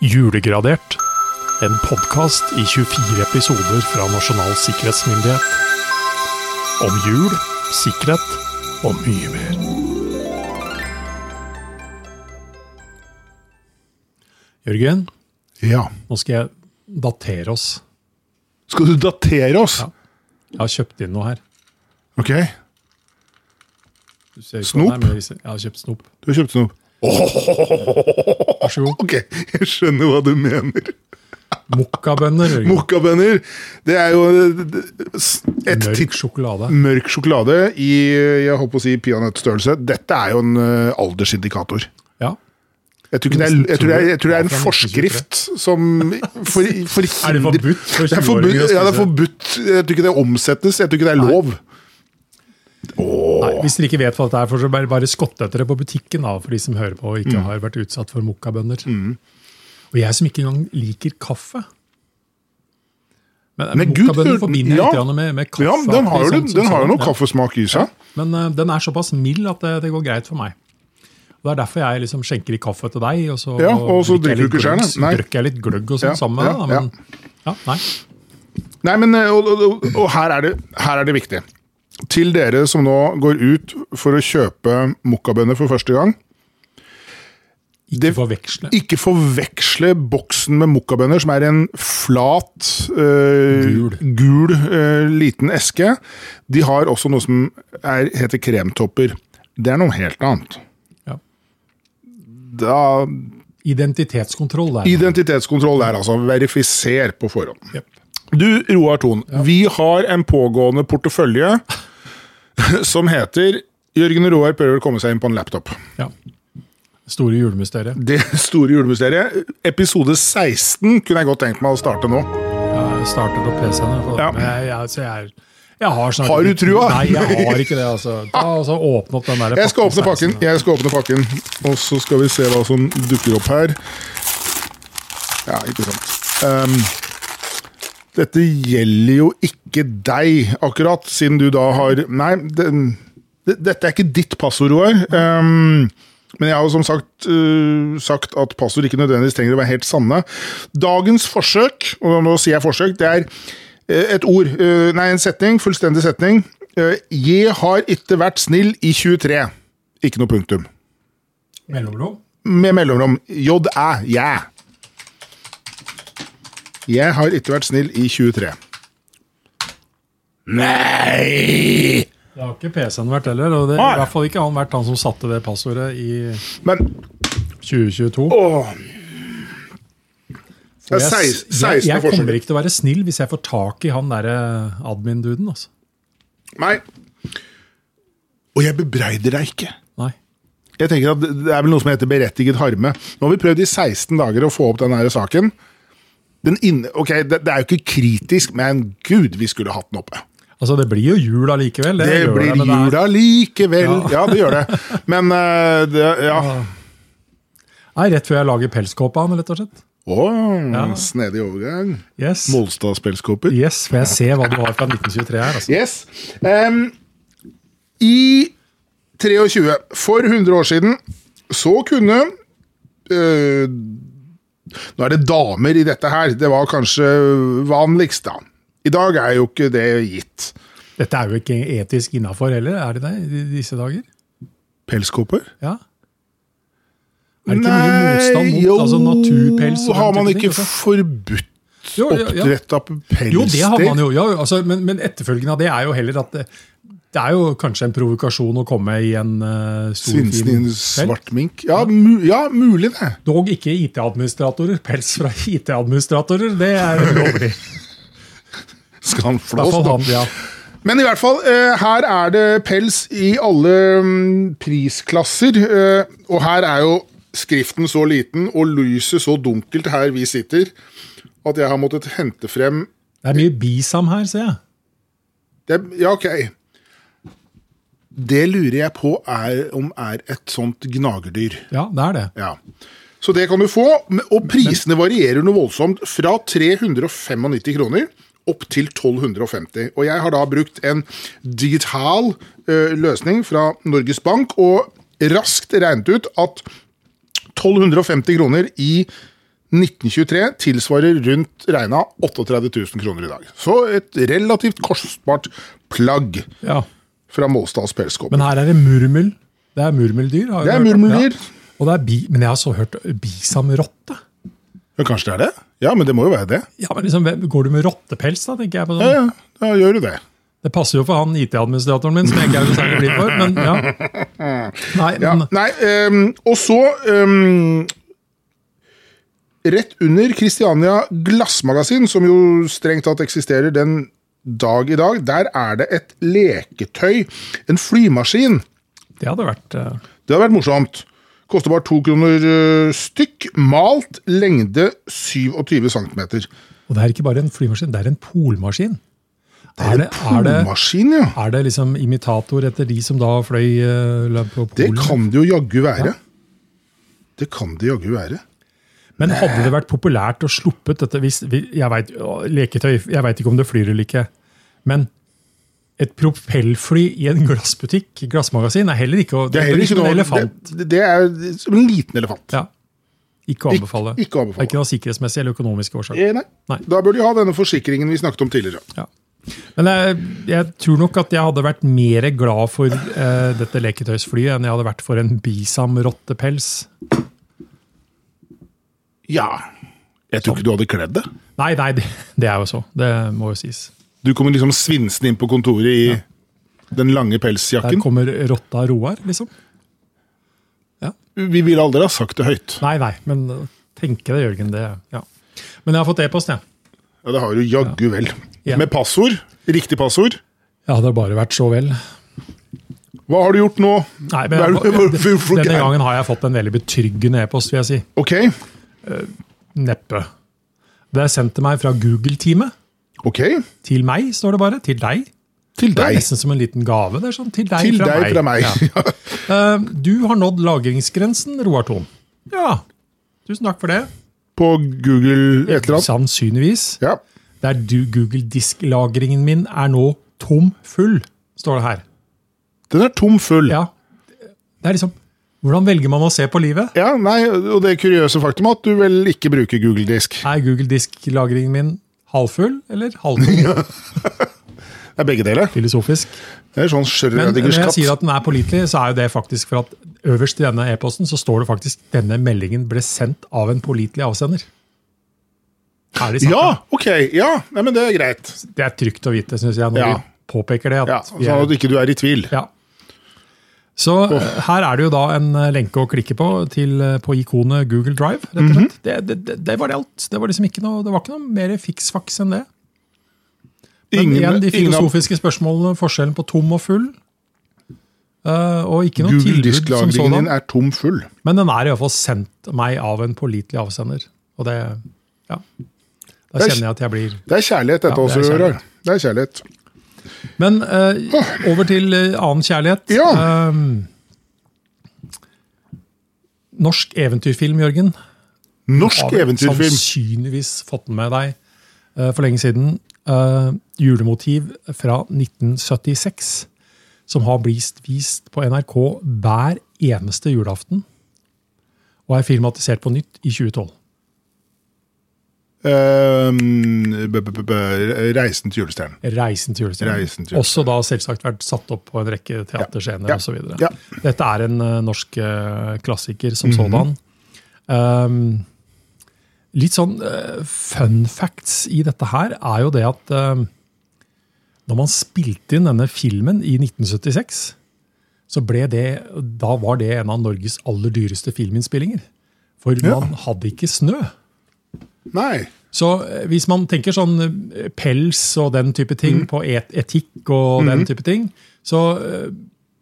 Julegradert. En podkast i 24 episoder fra Nasjonal sikkerhetsmyndighet. Om jul, sikkerhet og mye mer. Jørgen, Ja. nå skal jeg datere oss. Skal du datere oss? Ja. Jeg har kjøpt inn noe her. Ok, du Du ser ikke Snop? hva det er, men jeg viser- jeg har kjøpt snop. har kjøpt noe. Vær så god. Ok, jeg skjønner hva du mener. Mokkabønner. Jørgen. Mokkabønner, det er jo eh, et Mørk titt sjokolade. mørk sjokolade i jeg håper å si peanøttstørrelse. Dette er jo en eh, aldersindikator. Ja. Jeg tror, ikke det er, jeg, tror det er, jeg tror det er en forskrift som for, forhindrer Er det forbudt for Det er 20-åringer å forbudt. Ja, det er spise? forbudt. Jeg tror ikke det omsettes. Jeg tror ikke det er lov. Nei, hvis dere ikke vet hva dette er, for så bare, bare skott etter det på butikken da, for de som hører på og ikke Mm. har vært utsatt for mokkabønner. Og jeg som ikke engang liker kaffe. Men, eh, Men gud, mokkabønner hør- forbinder jeg ja. litt grann med, med kaffe. Ja, men den har jo, akkurat den, som- den som har jo sånn, noe kaffesmak i seg. Ja. Men eh, den er såpass mild at det, det går greit for meg. Og Det er derfor jeg liksom skjenker i kaffe til deg, og så, Ja, og så drikker jeg du litt ikke selv, gløgg- nei. drikker jeg litt gløgg og sånn Ja, sammen med deg. da, ja, Men, ja, nei. Nei, men eh, og, og, og her, er det, her er det viktig. Til dere som nå går ut for å kjøpe mokkabønner for første gang, Ikke Det- forveksle. ikke forveksle boksen med mokkabønner, som er en flat, eh, Gul. gul, eh, liten eske. De har også noe som er, heter kremtopper. Det er noe helt annet. Ja. Da, Identitetskontroll der. identitetskontroll der, altså. Verifiser på forhånd. Jep. Du, Roar Thon, vi har en pågående portefølje som heter Jørgen Roar prøver å komme seg inn på en laptop. Ja. Store julemysteriet. Det store julemysteriet. Episode 16 kunne jeg godt tenkt meg å starte nå. Jeg starter på PC-en. for- Ja. men Jeg, altså, jeg, så jeg, er- jeg har snart Har du ikke- trua? Nei, jeg har ikke det. altså. Ta og så Åpne opp den der Jeg skal åpne 16. pakken, jeg skal åpne pakken, og så skal vi se hva som dukker opp her. Ja, ikke sant. Ehm, dette gjelder jo ikke deg, akkurat, siden du da har Nei, det, det, dette er ikke ditt passord, Roar. Ehm, men jeg har jo som sagt øh, sagt at passord ikke nødvendigvis trenger å være helt sanne. Dagens forsøk, og nå sier jeg forsøk, det er eh, et ord eh, Nei, en setning. Fullstendig setning. Eh, Jeg har ikke vært snill i 23. Ikke noe punktum. Mellomrom. Med mellomrom. J-æ. Jeg. Jeg har ikke vært snill i 23. Nei! Det har ikke PC-en vært heller. og det, Nei. I hvert fall ikke han vært han som satte det passordet i Men 2022. åh, Og det er jeg, 16, jeg, jeg kommer forsøk. ikke til å være snill hvis jeg får tak i han derre admin-duden. altså. Nei. Og jeg bebreider deg ikke. Nei. Jeg tenker at Det er vel noe som heter berettiget harme. Nå har vi prøvd i 16 dager å få opp denne her saken. Den inne, ok, det, det er jo ikke kritisk, men gud, vi skulle hatt den oppe. Altså, Det blir jo jul allikevel. Det gjør blir men det er- jula likevel. Ja. Ja, det gjør det. Men eh, det, ja. Nei, Rett før jeg lager pelskåpe av han, rett og slett. Å, snedig overgang. Yes. Molstads pelskåper. Yes, for jeg ser hva du har fra 1923 her. altså. Yes. Em, I 23, for 100 år siden, så kunne eh, Nå er det damer i dette her. Det var kanskje vanligst, da. I dag er jo ikke det gitt. Dette er jo ikke etisk innafor heller, er det det? i disse dager? Pelskåper? Ja. Er det ikke mye motstand mot altså, naturpels? og den Har man type ting, ikke altså? forbudt Jo, ja, ja. oppdrett av pelsdyr? Jo, det har man jo. Ja, jo, altså, men, men etterfølgen av det er jo heller at det, det er jo kanskje en provokasjon å komme i en eh, stor, Svinsen i fin en pels. svart mink? Ja, mu ja mulig det. Dog ikke IT-administratorer. Pels fra IT-administratorer, det er lovlig. I Skal han hvert flås, fall da? han, ja. Men i hvert fall, eh, her er det pels i alle mm, prisklasser. eh, og her er jo skriften så liten og lyset så dunkelt her vi sitter, at jeg har måttet hente frem Det er mye bisam her, ser jeg. det, Ja, ok. Det lurer jeg på er, om er et sånt gnagerdyr. Ja, det er det. Ja. Så det kan du få. men- Og prisene varierer noe voldsomt. Fra 395 kroner opp til 1250. Og jeg har da brukt en digital eh, løsning fra Norges Bank og raskt regnet ut at 1250 kroner i 1923 tilsvarer rundt regna 38 000 kroner i dag. Så et relativt kostbart plagg Ja. fra Målstads pelskåpe. Men her er det murmel. Det er murmeldyr. har jeg Det er hørt. murmeldyr. Ja. Og det er bi, men jeg har så hørt bisamrotte. Ja, kanskje det er det? Ja, men det må jo være det. Ja, men liksom, hvem- Går du med rottepels, da? tenker jeg på Ja, sånn. ja, da gjør du det. Det passer jo for han IT-administratoren min, som jeg ikke er noe særlig blid for. Men ja. Nei, Ja, men, nei, ehm, og så ehm, Rett under Christiania Glassmagasin, som jo strengt tatt eksisterer den dag i dag, der er det et leketøy. En flymaskin. det hadde vært eh, Det hadde vært morsomt. Koster bare to kroner eh, stykk. Malt lengde 27 cm. Og det er ikke bare en flymaskin, det er en polmaskin. Er det, er det, Polmaskin, ja. er det liksom imitator etter de som da fløy eh, la- på Det Polen? kan det jo jaggu være. Det kan det jaggu være. Men hadde det vært populært og sluppet dette hvis, vi- jeg vet, å, Leketøy, jeg veit ikke om det flyr eller ikke. Men et propellfly i en glassbutikk, glassmagasin, er heller ikke å- Det er heller ikke en noe elefant. Det, det er som en liten elefant. Ja. Ikke å Ikke- anbefale. ikke å anbefale. Det er ikke av sikkerhetsmessige eller økonomiske årsaker. Eh, nei. Nei. Da bør de ha denne forsikringen vi snakket om tidligere. Ja. Men jeg, jeg tror nok at jeg hadde vært mer glad for eh, dette leketøysflyet enn jeg hadde vært for en bisamrottepels. Ja. Jeg tror ikke du hadde kledd det. Nei, nei, det, det er jo så. Det må jo sies. Du kommer liksom svinsende inn på kontoret i den lange Der pelsjakken. kommer rotta Roar, liksom. Vi ville aldri ha sagt det høyt. Nei, nei, men tenke det, Jørgen. Det, ja. Men jeg har fått e-post, jeg. Ja, Det har du jaggu vel. Ja. Med passord. Riktig passord. Jeg hadde bare vært så vel. Hva har du gjort nå? Nei, men, Hva er det- hva- hva- hva- denne gangen har jeg fått en veldig betryggende e-post, vil jeg si. Ok. Neppe. Det er sendt til meg fra Google-teamet. Ok. Til meg, står det bare. Til deg. Til Det er deg. nesten som en liten gave. det er sånn, Til deg, Til fra, deg meg. fra meg. Eh, Du har nådd lagringsgrensen, Roar Thon. Ja, tusen takk for det. På Google et eller annet. Sannsynligvis. Ja. Det er du Google-disklagringen min er nå tom full, står det her. Den er tom full. Ja. Det er liksom Hvordan velger man å se på livet? Ja, nei, Og det kuriøse faktum at du vel ikke bruker Google Disk. Er Google-disklagringen min halvfull eller halvfull? Det er begge deler. Filosofisk. Det er sånn Men når Schrødingers jeg katt. sier at den er pålitelig, så er jo det faktisk for at øverst i denne e-posten så står det faktisk denne meldingen ble sendt av en pålitelig avsender. Ærlig sagt. Ja, ok. Ja, nei, men det er greit. Det er trygt å vite, syns jeg, når Ja. vi påpeker det. At Ja, vi Sånn er, at ikke du er i tvil. ja. Så eh, her er det jo da en eh, lenke å klikke på til, eh, på ikonet Google Drive. rett og Mhm. slett. det, det, det, det var det alt. Det var liksom ikke noe, det var ikke noe mer fiksfaks enn det. Men Ingen- igjen, de ingen av- filosofiske spørsmålene, forskjellen på tom og full. eh, og ikke noe Google tilbud som disklagringen din sådan. er tom full. Men den er i hvert fall sendt meg av en pålitelig avsender. Og det, ja. Da Det er- kjenner jeg at jeg blir Det er kjærlighet, Ja, dette det også, er Rørar. kjærlighet. Det er kjærlighet. Men eh, over til eh, annen kjærlighet. Ja. Ehm, norsk eventyrfilm, Jørgen. Norsk vel eventyrfilm. Sannsynligvis fått den med deg eh, for lenge siden. Eh, julemotiv fra 1976, som har blitt vist på NRK hver eneste julaften. Og er filmatisert på nytt i 2012. Ehm, b- b- b- Reisen til julestjernen. Reisen til julestjernen. Reisen til julestjernen. Også da selvsagt vært satt opp på en rekke teaterscener Ja. og så videre. Ja. Mhm. Dette er en eh, norsk eh, klassiker som sådan. Um, litt sånn eh, fun facts i dette her er jo det at eh, når man spilte inn denne filmen i 1976, så ble det, da var det en av Norges aller dyreste filminnspillinger. For Ja. man hadde ikke snø. Nei. Så eh, hvis man tenker sånn eh, pels og den type ting, på et etikk og den type ting, så eh,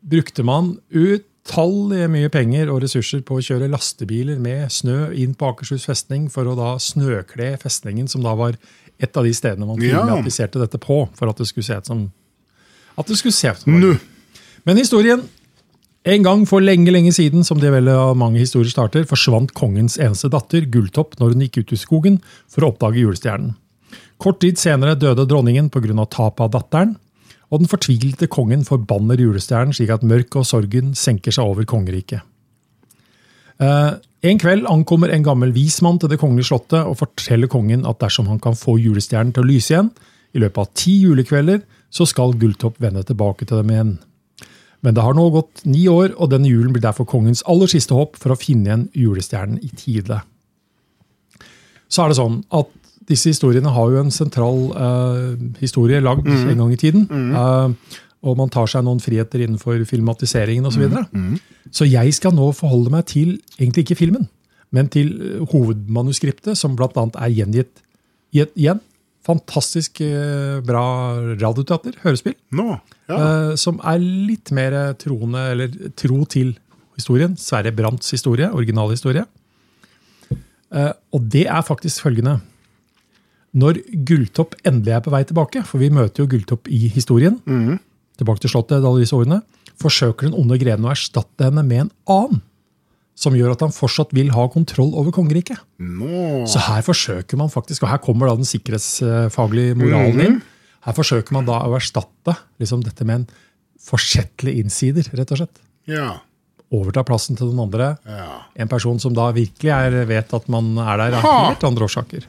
brukte man utallige mye penger og ressurser på å kjøre lastebiler med snø inn på Akershus festning for å da snøkle festningen, som da var et av de stedene man Ja. filmatiserte dette på, for at det skulle se ut som at det skulle se ut som Nu. Men historien en gang for lenge lenge siden, som det vel av mange historier starter, forsvant kongens eneste datter, Gulltopp, når hun gikk ut i skogen for å oppdage julestjernen. Kort tid senere døde dronningen pga. tapet av datteren, og den fortvilte kongen forbanner julestjernen slik at mørket og sorgen senker seg over kongeriket. Eh, en kveld ankommer en gammel vismann til det kongelige slottet og forteller kongen at dersom han kan få julestjernen til å lyse igjen i løpet av ti julekvelder, så skal Gulltopp vende tilbake til dem igjen. Men det har nå gått ni år, og denne julen blir derfor kongens aller siste håp for å finne igjen julestjernen i tide. Så er det sånn at disse historiene har jo en sentral eh, historie lagd en gang i tiden. eh, og man tar seg noen friheter innenfor filmatiseringen osv. Så, videre. så jeg skal nå forholde meg til egentlig ikke filmen, men til eh, hovedmanuskriptet, som bl.a. er gjengitt i et igjen, fantastisk eh, bra radioteater, hørespill. Nå. Ja. Eh, som er litt mer troende, eller tro til historien. Sverre Brandts historie, originalhistorie. Eh, og det er faktisk følgende. Når Gulltopp endelig er på vei tilbake, for vi møter jo Gulltopp i historien, tilbake til slottet, alle disse årene, forsøker den onde greven å erstatte henne med en annen. Som gjør at han fortsatt vil ha kontroll over kongeriket. Nå. Så her forsøker man faktisk, og her kommer da den sikkerhetsfaglige moralen Mhm. inn. Her forsøker man da å erstatte liksom dette med en forsettlig innsider, rett og slett. Ja. Overta plassen til den andre. ja. En person som da virkelig er, vet at man er der av helt andre årsaker.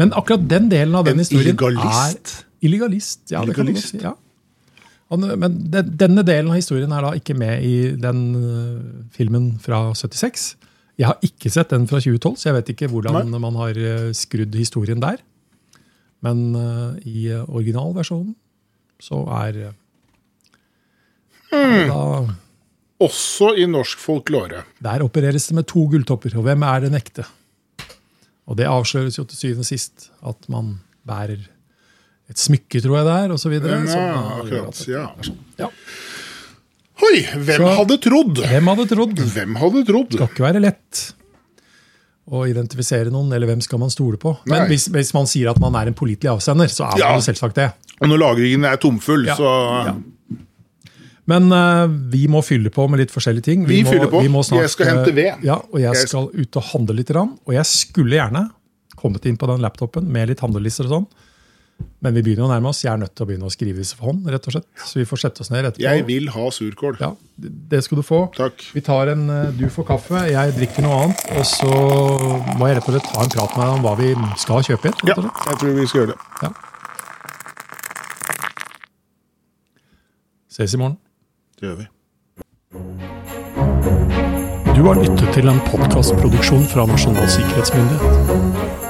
Men akkurat den delen av den En historien illegalist. er Illegalist. Ja, det kan man godt Illegalist. si. Ja. Han, men den, denne delen av historien er da ikke med i den øh, filmen fra 76. Jeg har ikke sett den fra 2012, så jeg vet ikke hvordan man har øh, skrudd historien der. Men øh, i øh, originalversjonen så er øh, da, Også i norsk folklore. der opereres det med to gulltopper, og hvem er den ekte? Og det avsløres jo til syvende og sist at man bærer et smykke, tror jeg det er, og så videre. som Ja, da gjør akkurat. at- Ja. Ja. Hoi! Hvem Så- hadde trodd? Hvem hadde trodd? Det Hvem hadde trodd? skal ikke være lett å identifisere noen, eller hvem skal man stole på? Men Nei. hvis, hvis man sier at man er en pålitelig avsender, så er man Ja. jo selvsagt det. Og når lagringen er tomfull, Ja, så um, ja. Men eh, vi må fylle på med litt forskjellige ting. Vi må, fyller på. Vi må snart, Jeg skal hente ved. eh, Ja, og jeg, Jeg- skal ut og handle litt. Rann, og jeg skulle gjerne kommet inn på den laptopen med litt handlelister og sånn. Men vi begynner å nærme oss. Jeg er nødt til å begynne å skrive disse for hånd. rett og slett. Så vi får sette oss ned etterpå. Jeg vil ha surkål. Ja, det det skal du få. Takk. Vi tar en, eh, Du får kaffe, jeg drikker noe annet. Og så må jeg rett og slett ta en prat med deg om hva vi skal kjøpe. Rett og Ja, slett. jeg tror vi skal gjøre det. Ja. Ses i morgen. Det gjør vi. Du har lyttet til en podkastproduksjon fra Nasjonal sikkerhetsmyndighet.